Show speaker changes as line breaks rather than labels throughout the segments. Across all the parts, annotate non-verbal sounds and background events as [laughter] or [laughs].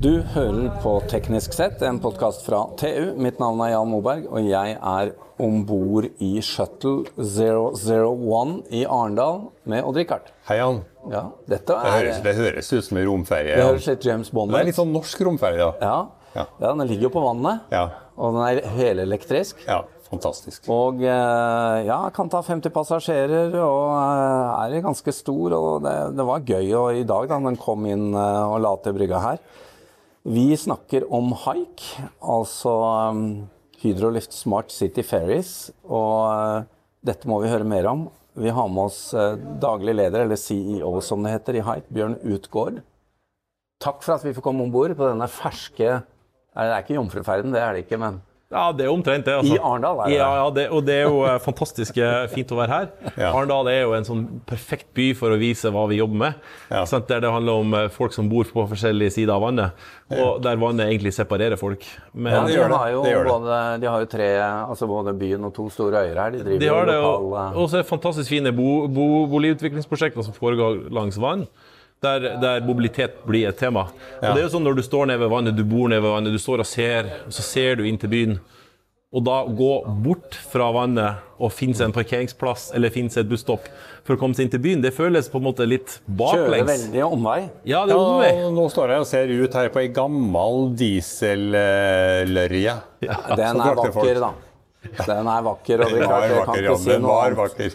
Du hører på Teknisk sett, en podkast fra TU. Mitt navn er Jan Moberg, og jeg er om bord i Shuttle 001 i Arendal med Odd-Rikard.
Hei, Jan.
Ja, dette
Det
er
høres, det høres ut som en romferie.
Det
Jan.
høres litt James Bond
Det er
ut.
litt sånn norsk romferie, da.
Ja.
Ja.
ja, den ligger jo på vannet,
Ja.
og den er helelektrisk.
Ja, fantastisk.
Og eh, ja, kan ta 50 passasjerer og eh, er ganske stor. Og det, det var gøy og i dag da den kom inn eh, og la til brygga her. Vi snakker om Hike, altså um, Hydrolift Smart City Ferries. Og eh, dette må vi høre mer om. Vi har med oss eh, daglig leder, eller CEO som det heter, i Hike, Bjørn Utgård. Takk for at vi får komme om bord på denne ferske Nei, Det er ikke jomfruferden, det er det ikke, men
Ja, det er omtrent det.
i
altså.
Arendal er det.
Ja, ja det, og det er jo eh, fantastisk eh, fint å
[laughs]
være her.
Ja.
Arendal er jo en sånn perfekt by for å vise hva vi jobber med.
Ja.
Ikke sant? Der det handler om eh, folk som bor på forskjellige sider av vannet, og der vannet egentlig separerer folk. Men
Ja,
det
de,
gjør det.
Har jo
Det gjør det.
Både, de har jo tre, altså både byen og to store øyer her. De driver
de har det,
lokal
og
eh,
og så er det fantastisk fine bo, bo, boligutviklingsprosjekter som foregår langs vann. Der, der mobilitet blir et tema. Og det er jo sånn Når du står nede ved vannet, du bor nede ved vannet, du står og ser, og så ser du inn til byen. Og da gå bort fra vannet og finnes en parkeringsplass eller finnes et busstopp for å komme seg inn til byen, det føles på en måte litt
Kjører
baklengs.
veldig omvei.
Ja, det
Ja,
er omvei.
nå står jeg og ser ut her på ei gammel diesellørje.
Den er vakker, da. Den er vakker, og det
Den
er
var
klart, jeg kan
vakker,
ikke
Jan.
si
Den
noe
var
annet.
vakker.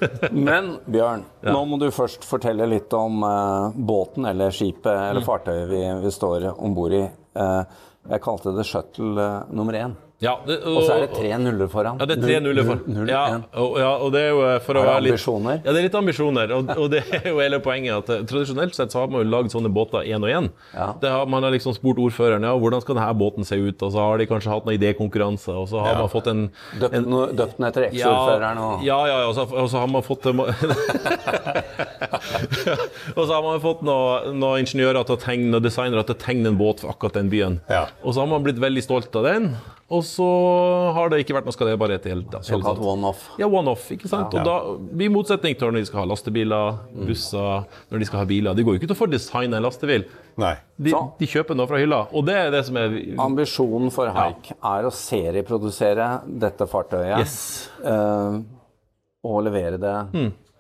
Men Bjørn, nå må du først fortelle litt om eh, båten eller skipet eller
Mm.
fartøyet vi, vi står om bord i. Eh, jeg kalte det Shuttle eh, nummer én.
Ja, det-
Og så er det tre nuller foran.
Ja, det er tre nuller for. ja, og, ja, og det er jo eh, for å
Er det
være litt
ambisjoner?
Ja, det er litt ambisjoner. Og, og det er jo hele poenget at eh, tradisjonelt sett så har man jo lagd sånne båter én og én.
Ja.
Det har- Man har liksom spurt ordføreren ja, hvordan skal denne båten se ut, og så har de kanskje hatt noen idékonkurranse, og så har man fått en
Døpt,
en-
no- døpt den etter eksordføreren og
ja, ja, ja, og så, og så har man fått [laughs] Og så har man fått noen noe ingeniører til å tegne, og designere til å tegne en båt for akkurat den byen.
Ja.
Og så har man blitt veldig stolt av den, og så har det ikke vært noe skalerbarhet i det hele tatt.
såkalt one-off.
Ja, one-off, ikke sant? Og da, I motsetning til når de skal ha lastebiler, busser, når de skal ha biler. De går jo ikke til å få designa en lastebil.
[laughs] Nei.
De,
Så.
de kjøper noe fra hylla, og det er det som er
Ambisjonen for Haik er å serieprodusere dette fartøyet
Yes. Mm.
eh, og levere det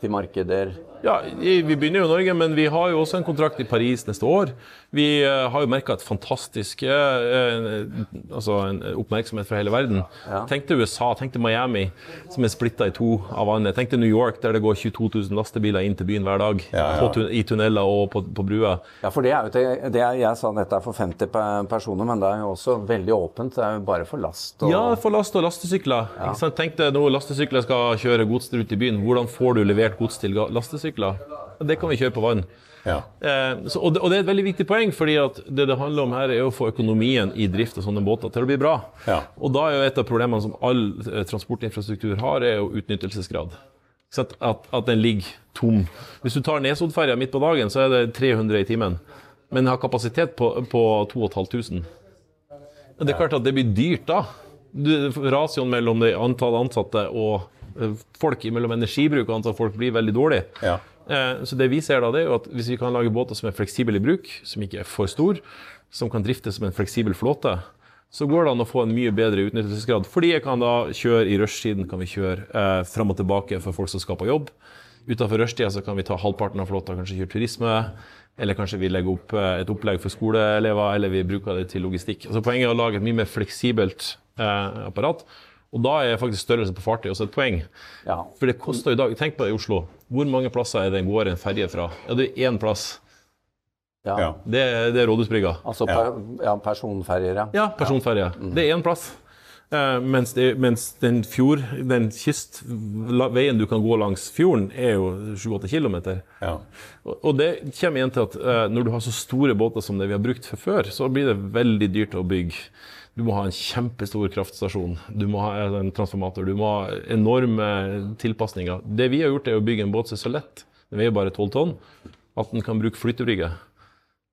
til markeder.
Ja, i- vi begynner jo i Norge, men vi har jo også en kontrakt i Paris neste år. Vi eh, har jo merka et fantastisk eh, eh, altså en oppmerksomhet fra hele verden. Tenk til USA, tenk til Miami, som er splitta i to av vannet. Tenk til New York, der det går 22 000 lastebiler inn til byen hver dag.
Ja, ja.
På tun I tunneler og på, på brua.
Ja, for det er jo til, det er, Jeg sa dette er for 50 pe- personer, men det er jo også veldig åpent. Det er jo bare for last. Og,
Ja, for last- og lastesykler. Ikke sant? Tenk deg nå lastesykler skal kjøre gods ut i byen. Hvordan får du levert gods til ga- lastesykler? Det kan vi kjøre på vann.
Ja.
Eh, så, og, det, og det er et veldig viktig poeng, fordi at det det handler om her, er å få økonomien i drift av sånne båter til å bli bra.
Ja.
Og da er jo et av problemene som all eh, transportinfrastruktur har, er jo utnyttelsesgrad. Ikke sant? At, at den ligger tom. Hvis du tar Nesoddferja midt på dagen, så er det 300 i timen. Men den har kapasitet på, på 2500. Det er klart at det blir dyrt da. Du- Rasioen mellom det antall ansatte og eh, folk, mellom energibruk og antall folk, blir veldig dårlig.
Ja.
Eh, Så det vi ser da, det er jo at hvis vi kan lage båter som er fleksible i bruk, som ikke er for stor, som kan driftes som en fleksibel flåte, så går det an å få en mye bedre utnyttelsesgrad. Fordi jeg kan da kjøre i rushtiden, kan vi kjøre eh, fram og tilbake for folk som skal på jobb. Utenfor rushtida så kan vi ta halvparten av flåta, kanskje kjøre turisme. Eller kanskje vi legger opp eh, et opplegg for skoleelever, eller vi bruker det til logistikk. Altså Poenget er å lage et mye mer fleksibelt eh, apparat. Og da er faktisk størrelsen på fartøyet også et poeng.
ja.
For det koster jo i dag Tenk på det i Oslo. Hvor mange plasser er det går en ferje fra? Ja, det er én plass.
ja.
Ja.
Det er, det er Rådhusbrygga.
Altså per, ja, personferjer, ja.
Ja, personferje. Det er én plass. Eh, mens, det, mens den fjord, den kyst, la, veien du kan gå langs fjorden, er jo 7-8 km.
Ja.
Og og det kommer igjen til at eh, når du har så store båter som det vi har brukt for før, så blir det veldig dyrt å bygge. Du må ha en kjempestor kraftstasjon, du må ha eh, en transformator, du må ha enorme tilpasninger. Det vi har gjort, er å bygge en båt som er så lett, den veier bare 12 tonn, at den kan bruke flytebrygge.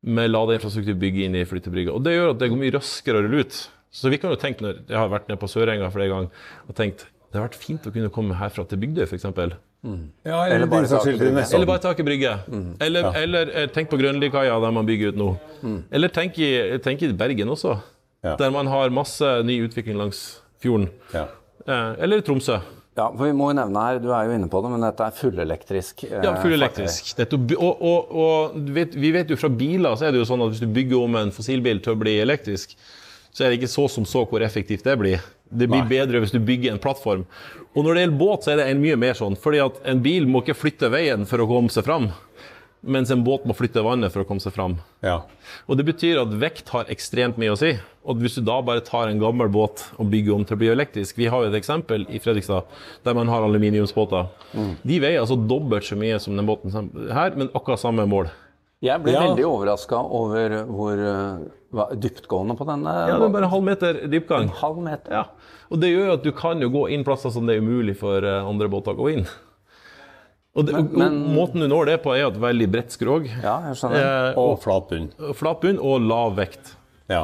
Med ladeinfrastruktur bygge inn i flytebrygga. Og det gjør at det går mye raskere å rulle ut. Så vi kan jo tenke, når jeg har vært nede på Sørenga flere ganger og tenkt det har vært fint å kunne komme herfra til Bygdøy, f.eks.
Ja, eller,
Eller bare
din saks
taket
skyld til
brygge.
neste
Eller bare Taket brygge. Eller, eller, eh, tenk på Grønlikaia, der man bygger ut nå. Eller tenk i, tenk i Bergen også,
Ja.
der man har masse ny utvikling langs fjorden.
Ja.
Eh, Eller i Tromsø.
Ja, for vi må jo nevne her, du er jo inne på det, men dette er fullelektrisk. eh,
Ja, full
fartøy.
elektrisk. Nettopp. Og, og, og du vet, vi vet jo fra biler så er det jo sånn at hvis du bygger om en fossilbil til å bli elektrisk, så er det ikke så som så hvor effektivt det blir. Det blir bedre hvis du bygger en plattform. Og når det gjelder båt, så er det en mye mer sånn, fordi at en bil må ikke flytte veien for å komme seg fram, mens en båt må flytte vannet for å komme seg fram.
Ja.
Og det betyr at vekt har ekstremt mye å si. Og hvis du da bare tar en gammel båt og bygger om til å bli elektrisk Vi har jo et eksempel i Fredrikstad der man har aluminiumsbåter. De veier altså dobbelt så mye som den båten som- her, men akkurat samme mål.
Jeg ble
Ja.
veldig overraska over hvor eh, hva- dyptgående på denne
Ja, det er
båten.
bare en halv meter dypgang.
Halv meter.
Ja. Og det gjør jo at du kan jo gå inn plasser som det er umulig for eh, andre båter å gå inn. Og, det, og, og måten du når det på, er jo et veldig bredt skrog.
Ja, jeg skjønner.
Eh,
Og flat bunn.
og flat bunn og lav vekt.
Ja.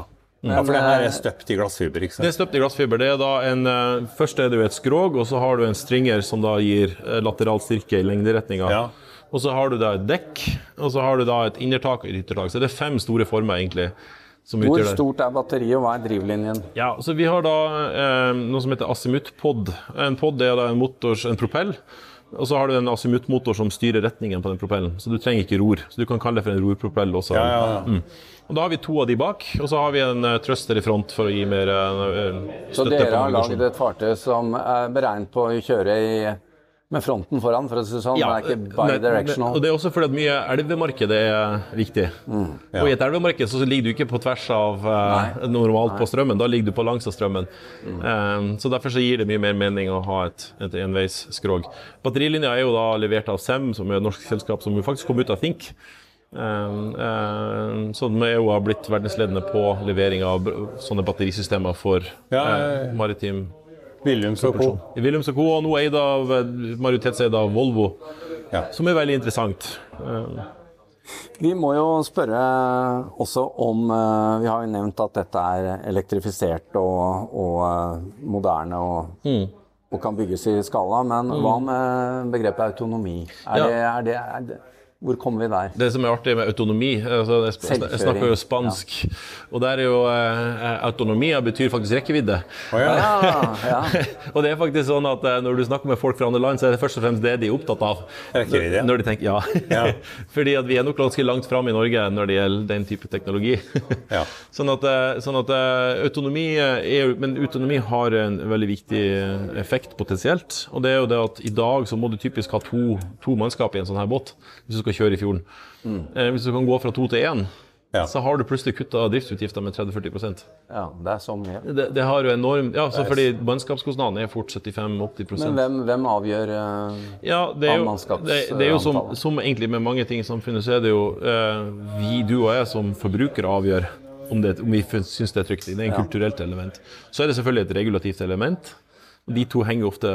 ja, for det her
eh,
er støpt i glassfiber, ikke
Det
sant?
er støpt i glassfiber. Det er da en, eh, først er det jo et skrog, og så har du en stringer som da gir eh, lateral styrke i lengderetninga.
Ja.
Og så har du da et dekk, og så har du da et innertak og et yttertak. Så det er fem store former, egentlig. Som
Hvor
utgjør det.
stort er batteriet, og hva er drivlinjen?
Ja, så vi har da eh, noe som heter azimutt-pod. En pod er da en, motors, en propell, og så har du en azimutt-motor som styrer retningen på den propellen. Så du trenger ikke ror. Så du kan kalle det for en rorpropell også.
Ja, ja, ja.
Mm.
Og da har vi to av de bak, og så har vi en eh, trøster i front for å gi mer eh,
Så
støtte
dere
på
har
navigasjon.
lagd et fartøy som er beregnet på å kjøre i, med fronten foran, for å si det sånn. det er ikke
nei, Og
bidirectional. Mm.
det er også fordi at mye elvemarked er viktig. Og i et elvemarked så ligger du ikke på tvers av eh, normalt på strømmen, da ligger du på langs av strømmen.
Mm.
Eh, så derfor så gir det mye mer mening å ha et, et enveisskrog. Batterilinja er jo da levert av SEM, som er et norsk selskap som jo faktisk kom ut av Think. Eh, eh, så de er jo har blitt verdensledende på levering av br- sånne batterisystemer for
Ja,
eh,
ja, ja.
maritim
Williams og co.
i Williams Co. og nå eid av, majoritetseid av Volvo,
Ja.
som er veldig interessant. Eh,
Vi må jo spørre også om eh, Vi har jo nevnt at dette er elektrifisert og, og eh, moderne og,
Mm.
og kan bygges i skala, men hva med begrepet autonomi? Er
Ja.
det, er det, er det, hvor kommer vi
[laughs]
der?
Det som er artig med autonomi altså jeg, sp jeg snakker jo spansk, og der er jo eh, autonomia betyr faktisk rekkevidde.
Å, ja.
Ja, ja.
[laughs] og det er faktisk sånn at eh, når du snakker med folk fra andre land, så er det først og fremst det de er opptatt av.
Rekkevidde, ja.
Når de tenker, ja.
Ja.
[laughs] Fordi at vi er nok ganske langt fram i Norge når det gjelder den type teknologi.
[laughs] Ja.
[laughs] Sånn at, eh, sånn at eh, autonomi er jo Men autonomi har en veldig viktig eh, effekt potensielt. Og det er jo det at i dag så må du typisk ha to, to mannskap i en sånn her båt hvis du skal kjøre i fjorden. Eh, Hvis du kan gå fra to til én,
Mm. Ja.
så har du plutselig kutta driftsutgifter med 30-40
ja, det er så mye.
det, det har jo enorm Ja, så fordi mannskapskostnadene er fort 75-80
Men hvem, hvem avgjør eh,
ja, det er jo,
Avmannskaps-
det, det er jo som,
antallet.
som egentlig med mange ting i samfunnet, så er det jo eh, vi, du og jeg, som forbrukere avgjør om, det, om vi syns det er trygt. Det er en kulturelt element. Så er det selvfølgelig et regulativt element. og De to henger ofte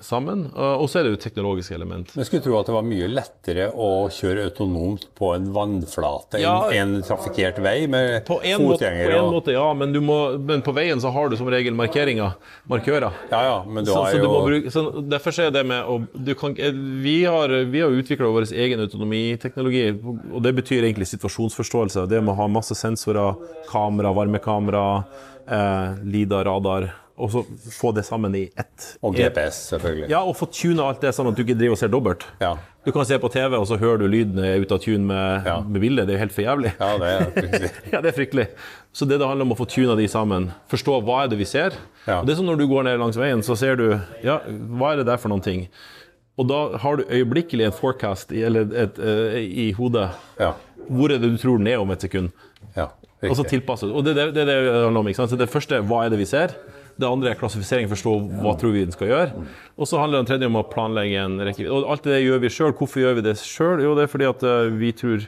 sammen. Og og så er det jo et teknologisk element.
Jeg skulle tro at det var mye lettere å kjøre autonomt på en vannflate enn
Ja.
en trafikkert vei med
På en, måte, på
fotgjengere.
en
og-
måte, ja, men, du må, men på veien så har du som regel markeringer, markører.
Ja, ja, men du
Så,
har
så du må
jo
bruke, så derfor så er det med å du kan, ikke- Vi har, vi har utvikla vår egen autonomiteknologi, og det betyr egentlig situasjonsforståelse. Det med å ha masse sensorer, kamera, varmekamera, eh, Lida, radar, og så få det sammen i ett. E
Og GPS, selvfølgelig.
Ja, og få tuna alt det sånn at du ikke driver og ser dobbelt.
Ja.
Du kan se på TV, og så hører du lyden er ute av tune med,
Ja.
med bildet. Det er jo helt for jævlig.
Ja, det er riktig.
[laughs] Ja, det er fryktelig. Så det det handler om å få tuna de sammen. Forstå hva er det vi ser.
Ja.
Og det er som når du går ned langs veien, så ser du ja, hva er det der for noen ting. Og da har du øyeblikkelig en forecast i, eller et, eh, i hodet.
Ja.
Hvor er det du tror den er om et sekund?
ja
Og så
riktig.
tilpasset. Og det er det, det, er det det handler om. ikke sant? Så det første er hva er det vi ser. Det andre er klassifisering, forstå hva tror vi den skal gjøre. Og så handler den tredje om å planlegge en rekkevidde. Og alt det gjør vi sjøl. Hvorfor gjør vi det sjøl? Jo, det er fordi at eh, vi tror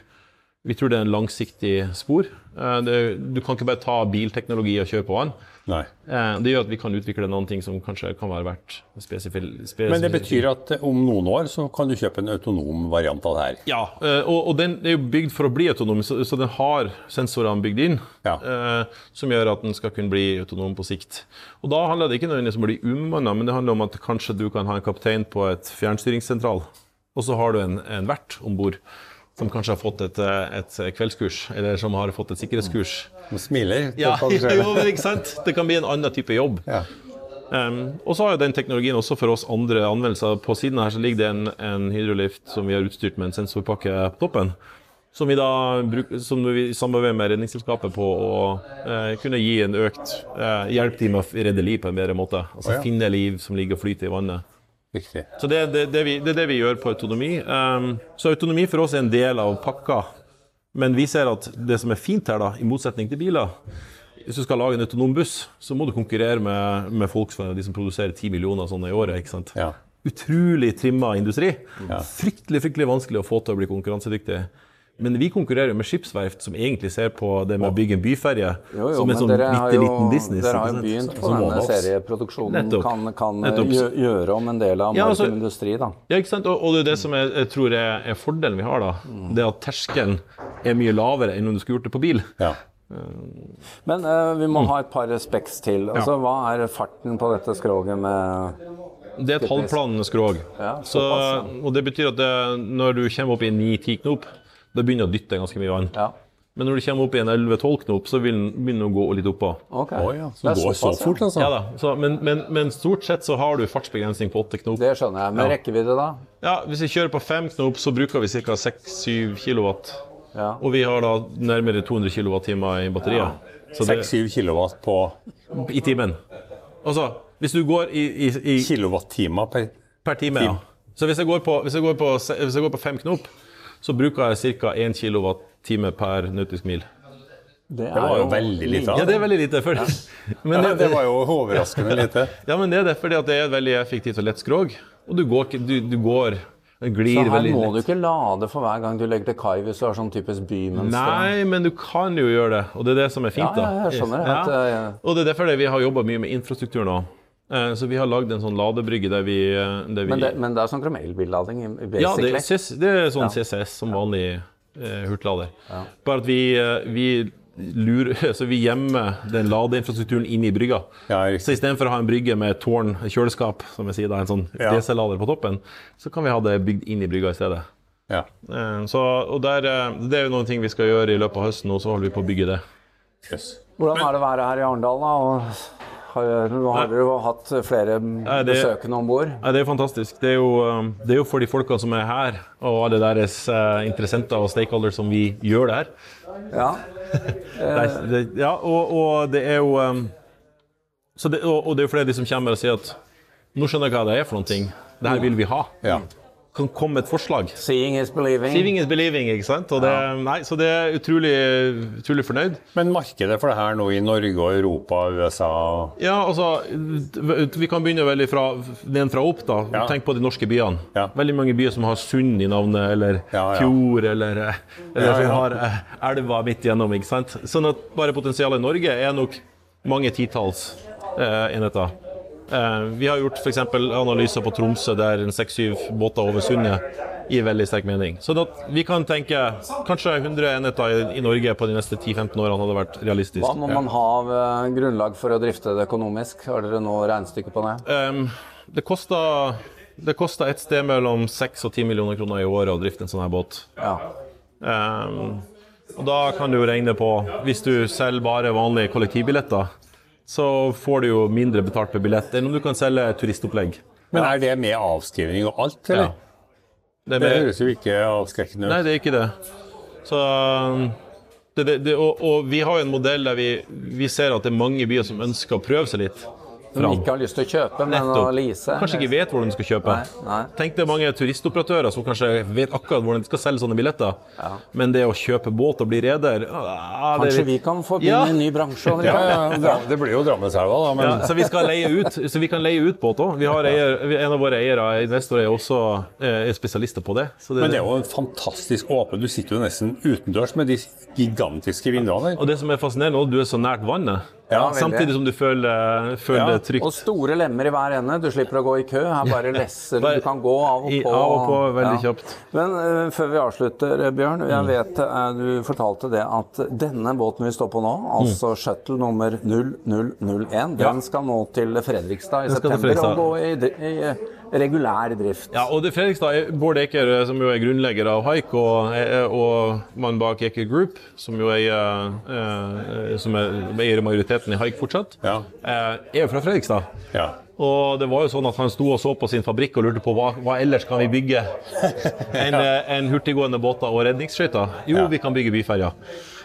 Vi tror det er en langsiktig spor. Eh, Det, du kan ikke bare ta bilteknologi og kjøre på den.
Nei.
Eh, Det gjør at vi kan utvikle noen ting som kanskje kan være verdt spesifikt.
Men det betyr at eh, om noen år så kan du kjøpe en autonom variant av det her.
Ja, eh, og, og den er jo bygd for å bli autonom, så, så den har sensorene bygd inn.
Ja.
eh, som gjør at den skal kunne bli autonom på sikt. Og da handler det ikke nødvendigvis om å bli umanna, men det handler om at kanskje du kan ha en kaptein på et fjernstyringssentral, og så har du en, en vert om bord. Som kanskje har fått et, eh, et kveldskurs, eller som har fått et sikkerhetskurs.
Den smiler. til
Ja,
passasjerene.
[laughs] jo, men ikke sant? Det kan bli en annen type jobb.
Ja.
Um, og så har jo den teknologien også for oss andre anvendelser. På siden her så ligger det en, en hydrolift som vi har utstyrt med en sensorpakke på toppen. Som vi da bruk, som vi samarbeider med Redningsselskapet på å eh, kunne gi en økt eh, hjelp til med å redde liv på en bedre måte. Altså
Å, ja.
finne liv som ligger og flyter i vannet.
Riktig.
Så det, det, det, vi, det er det vi gjør på autonomi. Um, så autonomi for oss er en del av pakka. Men vi ser at det som er fint her, da, i motsetning til biler Hvis du skal lage en autonom buss, så må du konkurrere med, med Volkswagen, de som produserer 10 millioner sånne i året. ikke sant?
Ja.
Utrolig trimma industri. Fryktelig fryktelig vanskelig å få til å bli konkurransedyktig. Men vi konkurrerer jo med skipsverft, som egentlig ser på det med å bygge en byferje
Jo, jo,
som en
men
sånn
dere har
bitte
jo,
liten business.
dere har jo
ikke sant?
begynt på
Som
denne
one-offs.
serieproduksjonen.
Nettopp.
Kan, kan
Nettopp.
gjø- gjøre om en del av
Ja, altså-
maritim industri, da.
Ja, ikke sant? Og, og det er det som jeg, jeg tror er, er fordelen vi har, da.
Mm.
Det at terskelen er mye lavere enn om du skulle gjort det på bil.
Ja.
Men eh, vi må
Mm.
ha et par speks til. Altså, Hva er farten på dette skroget med
Det er et halvplanende skrog.
Ja,
Så,
såpass,
og det betyr at det, når du kommer opp i 9-10 knop, da begynner det å dytte ganske mye vann.
Ja,
Men når du kommer opp i en 11-12 knop, så vil den begynne å gå litt oppå.
ok.
Å ja.
Det
Så
er
går så
såpass, ja.
fort, altså.
Ja da, så, men, men, men stort sett så har du fartsbegrensning på 8 knop.
Det skjønner jeg. Men rekkevidde, da?
Ja, Hvis vi kjører på 5 knop, så bruker vi ca. 6-7 kilowatt.
Ja.
Og vi har da nærmere 200 kilowattimer i batteriet. Så det-
6-7 kilowatt på
i timen. Altså, hvis du går i, i, i
kilowattimer per
per time, ja. Så hvis jeg går på, hvis jeg går på, se- hvis jeg går på fem knop, så bruker jeg ca. 1 kWt per nautisk mil.
Det,
Det var jo veldig lite.
Ja,
av
det er veldig lite. For, [laughs] men,
Ja,
det,
det var jo overraskende lite.
ja, men det er det, fordi at det er et veldig effektivt og lett skrog. Og du går, ikke- du, du går den
Så
glir
her
veldig
må du
lett.
ikke lade for hver gang du legger til kai hvis du har sånn typisk bymønster.
Nei, men du kan jo gjøre det, og det er det som er fint.
Ja, ja,
da.
jeg skjønner
Ja.
at, eh,
Og det er derfor det vi har jobba mye med infrastruktur nå. Eh, Så vi har lagd en sånn ladebrygge der vi, eh, der vi
Men det, men det er sånn kromellbillading, basically.
Ja, det, er CC det er sånn CCS som vanlig eh, hurtiglader. Bare at vi, eh, vi lurer [laughs] Så vi gjemmer den ladeinfrastrukturen inn i brygga.
Ja, riktig.
så istedenfor å ha en brygge med tårn, kjøleskap, som jeg sier, da, en sånn
Ja.
DC-lader på toppen, så kan vi ha det bygd inn i brygga i stedet.
Ja.
Eh, Så, og der, eh, det er jo noen ting vi skal gjøre i løpet av høsten, og så holder vi på å bygge det.
Yes.
Hvordan er det været her i Arendal, da? Og har, nå har dere jo hatt flere
det-
besøkende om bord.
Nei, det er jo fantastisk. Det er jo, um, det er jo for de folka som er her, og alle deres eh, interessenter og stakeholders som vi gjør det her.
Ja.
Nei, det, ja, og, og det er jo um, så det, og, og det er jo flere av de som kommer og sier at nå skjønner jeg hva det er for noen ting. Det her vil vi ha.
Ja.
Kan komme med et forslag.
Seeing is believing.
Living is believing, ikke sant? Og det, nei, så det er utrolig, utrolig fornøyd.
Men markedet for det her nå i Norge og Europa og USA og-
Ja, altså, vi kan begynne veldig fra, nedenfra og opp, da.
Ja.
Tenk på de norske byene.
Ja.
Veldig mange byer som har sund i navnet, eller
Ja, ja.
fjord, eller, eh, eller
Ja, ja.
som har eh, elva midt igjennom, ikke sant? Sånn at bare potensialet i Norge er nok mange titalls eh, enheter. Eh, vi har gjort for eksempel analyser på Tromsø der en 6-7 båter over sundet gir veldig sterk mening. Sånn at vi kan tenke kanskje 100 enheter i, i Norge på de neste 10-15 årene hadde vært realistisk.
Hva må man ha av eh, grunnlag for å drifte det økonomisk? Har dere noe regnestykke på det?
Ehm, det kosta det kosta et sted mellom 6 og 10 millioner kroner i året å drifte en sånn her båt.
Ja.
Ehm, og da kan du jo regne på Hvis du selger bare vanlige kollektivbilletter, så får du jo mindre betalt per billett enn om du kan selge turistopplegg.
Men er det med avskrivning og alt, eller?
Ja. Det er
Det
mer-
høres jo ikke avskrekkende ut.
Nei, det er ikke det. Så um, det, det, det, og, og vi har jo en modell der vi, vi ser at det er mange byer som ønsker å prøve seg litt.
de
fram.
ikke har lyst til å kjøpe, men å
Nettopp.
lease.
Kanskje ikke vet hvor de skal kjøpe.
Nei, nei.
Tenk det er mange turistoperatører som kanskje vet akkurat hvordan de skal selge sånne billetter. Men det å kjøpe båt og bli reder ah, det er
Kanskje
litt-
vi kan få begynne
Ja.
en ny bransje?
Ja,
Richard?
ja, ja, det blir jo Drammenselva, da. Men
Ja, så, vi skal leie ut, så vi kan leie ut båt òg. En av våre eiere, investorer, er også eh, er spesialister på det. Så
Men det er jo en fantastisk åpen Du sitter jo nesten utendørs med de gigantiske vinduene. der.
Og det som er fascinerende, er at du er så nært vannet.
Ja, veldig.
samtidig som du føler, føler
Ja.
det trygt.
Og store lemmer i hver ende. Du slipper å gå i kø. Her bare lesser du.
Bare
Du kan gå av og
i-
på.
av og på, veldig kjapt. Mm.
Men eh, før vi avslutter, eh, Bjørn. Jeg vet eh, du fortalte det at denne båten vi står på nå, altså shuttle nummer 0001,
Mm. Ja.
den skal nå til Fredrikstad i
Den skal til
september
Fredrikstad.
og gå i, dri- i eh, regulær drift.
Ja, og det Fredrikstad, er- Bård Eker, som jo er grunnlegger av Haik, og, og mannen bak Eker Group, som jo eier, eh, som er, eier majoriteten i Haik fortsatt,
Ja.
eh, er jo fra Fredrikstad.
Ja.
Og det var jo sånn at han sto og så på sin fabrikk og lurte på hva, hva ellers kan vi bygge
[laughs]
enn en hurtiggående båter og redningsskøyter? Jo,
Ja.
vi kan bygge byferja.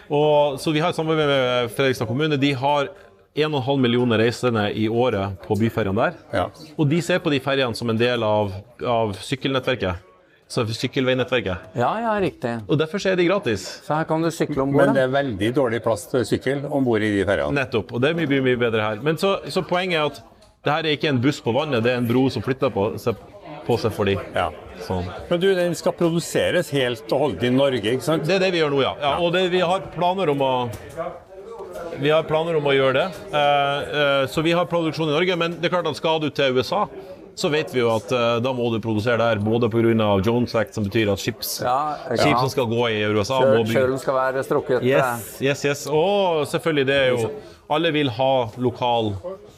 Og, så vi har et samarbeid med Fredrikstad kommune. De har 1,5 millioner reisende i året på byferjene der.
Ja.
Og de ser på de ferjene som en del av, av sykkelnettverket. Så sykkelveinettverket.
Ja, ja, riktig.
Og derfor så er de gratis.
Så her kan du sykle om bord.
Men det er veldig dårlig plass til sykkel om bord i de ferjene.
Nettopp. Og det blir mye, mye bedre her. Men så, så poenget er at det her er ikke en buss på vannet, det er en bro som flytter på seg, på seg for de.
Ja.
Sånn.
Men du, den skal produseres helt og holdent i Norge, ikke sant?
Det er det vi gjør nå, ja. ja og det, vi har planer om å vi har planer om å gjøre det. Eh, eh, så vi har produksjon i Norge, men det er klart at skal du til USA, så vet vi jo at eh, da må du produsere der, både pga. Jones Act, som betyr at skips,
Ja, ikke
skip
sant.
som skal gå i USA, må bygge
Kjølen skal være strukket. eh.
Yes, yes, yes. Og selvfølgelig, det er jo Alle vil ha lokal,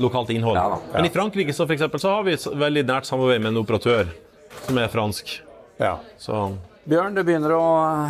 lokalt innhold.
Ja da.
Men i Frankrike så, for eksempel, så har vi et veldig nært samarbeid med en operatør som er fransk.
Ja.
Så
Bjørn, det begynner å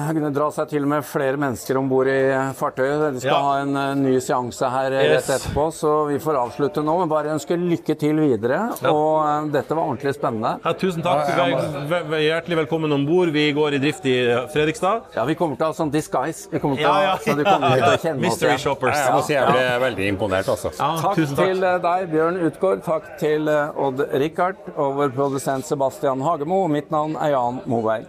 eh, dra seg til med flere mennesker om bord i fartøyet. Du skal
Ja.
ha en eh, ny seanse her eh, rett
Yes.
etterpå, så vi får avslutte nå. Men bare ønsker lykke til videre. Og eh, dette var ordentlig spennende.
ja, tusen takk.
Ja, ja,
Vær- vær- vær Hjertelig velkommen om bord. Vi går i drift i eh, Fredrikstad.
Ja, vi kommer til å ha sånn disguise, vi kommer til
Ja, ja,
å, så du kommer til å
ja, ja.
kjenne oss
Mystery
igjen.
shoppers.
Jeg må si jeg ble veldig imponert, altså.
Ja,
Takk,
tusen
til eh, deg, Bjørn Utgaard. Takk til eh, Odd-Rikard og vår produsent Sebastian Hagemo. Mitt navn er Jan Moberg.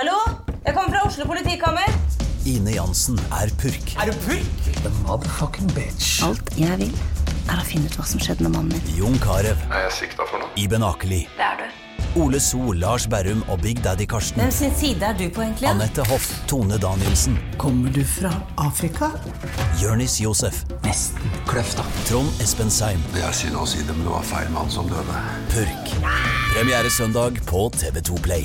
Hallo? Jeg kommer fra Oslo politikammer.
Ine Jansen er purk.
Er du purk?
Motherfucking bitch.
Alt jeg vil, er å finne ut hva som skjedde med mannen min.
Jon Carew,
er jeg sikta for noe?
Iben Akeli,
Det er du.
Ole So, Lars Berrum og Big Daddy Karsten.
Hvem sin side er du på, egentlig?
Anette Hoff, Tone Danielsen,
Kommer du fra Afrika?
Jørnis Josef,
Nesten. Kløfta.
Trond Espen Seim,
Det er synd å si det, men det var feil mann som døde.
Purk. Premiere søndag på TV2 Play.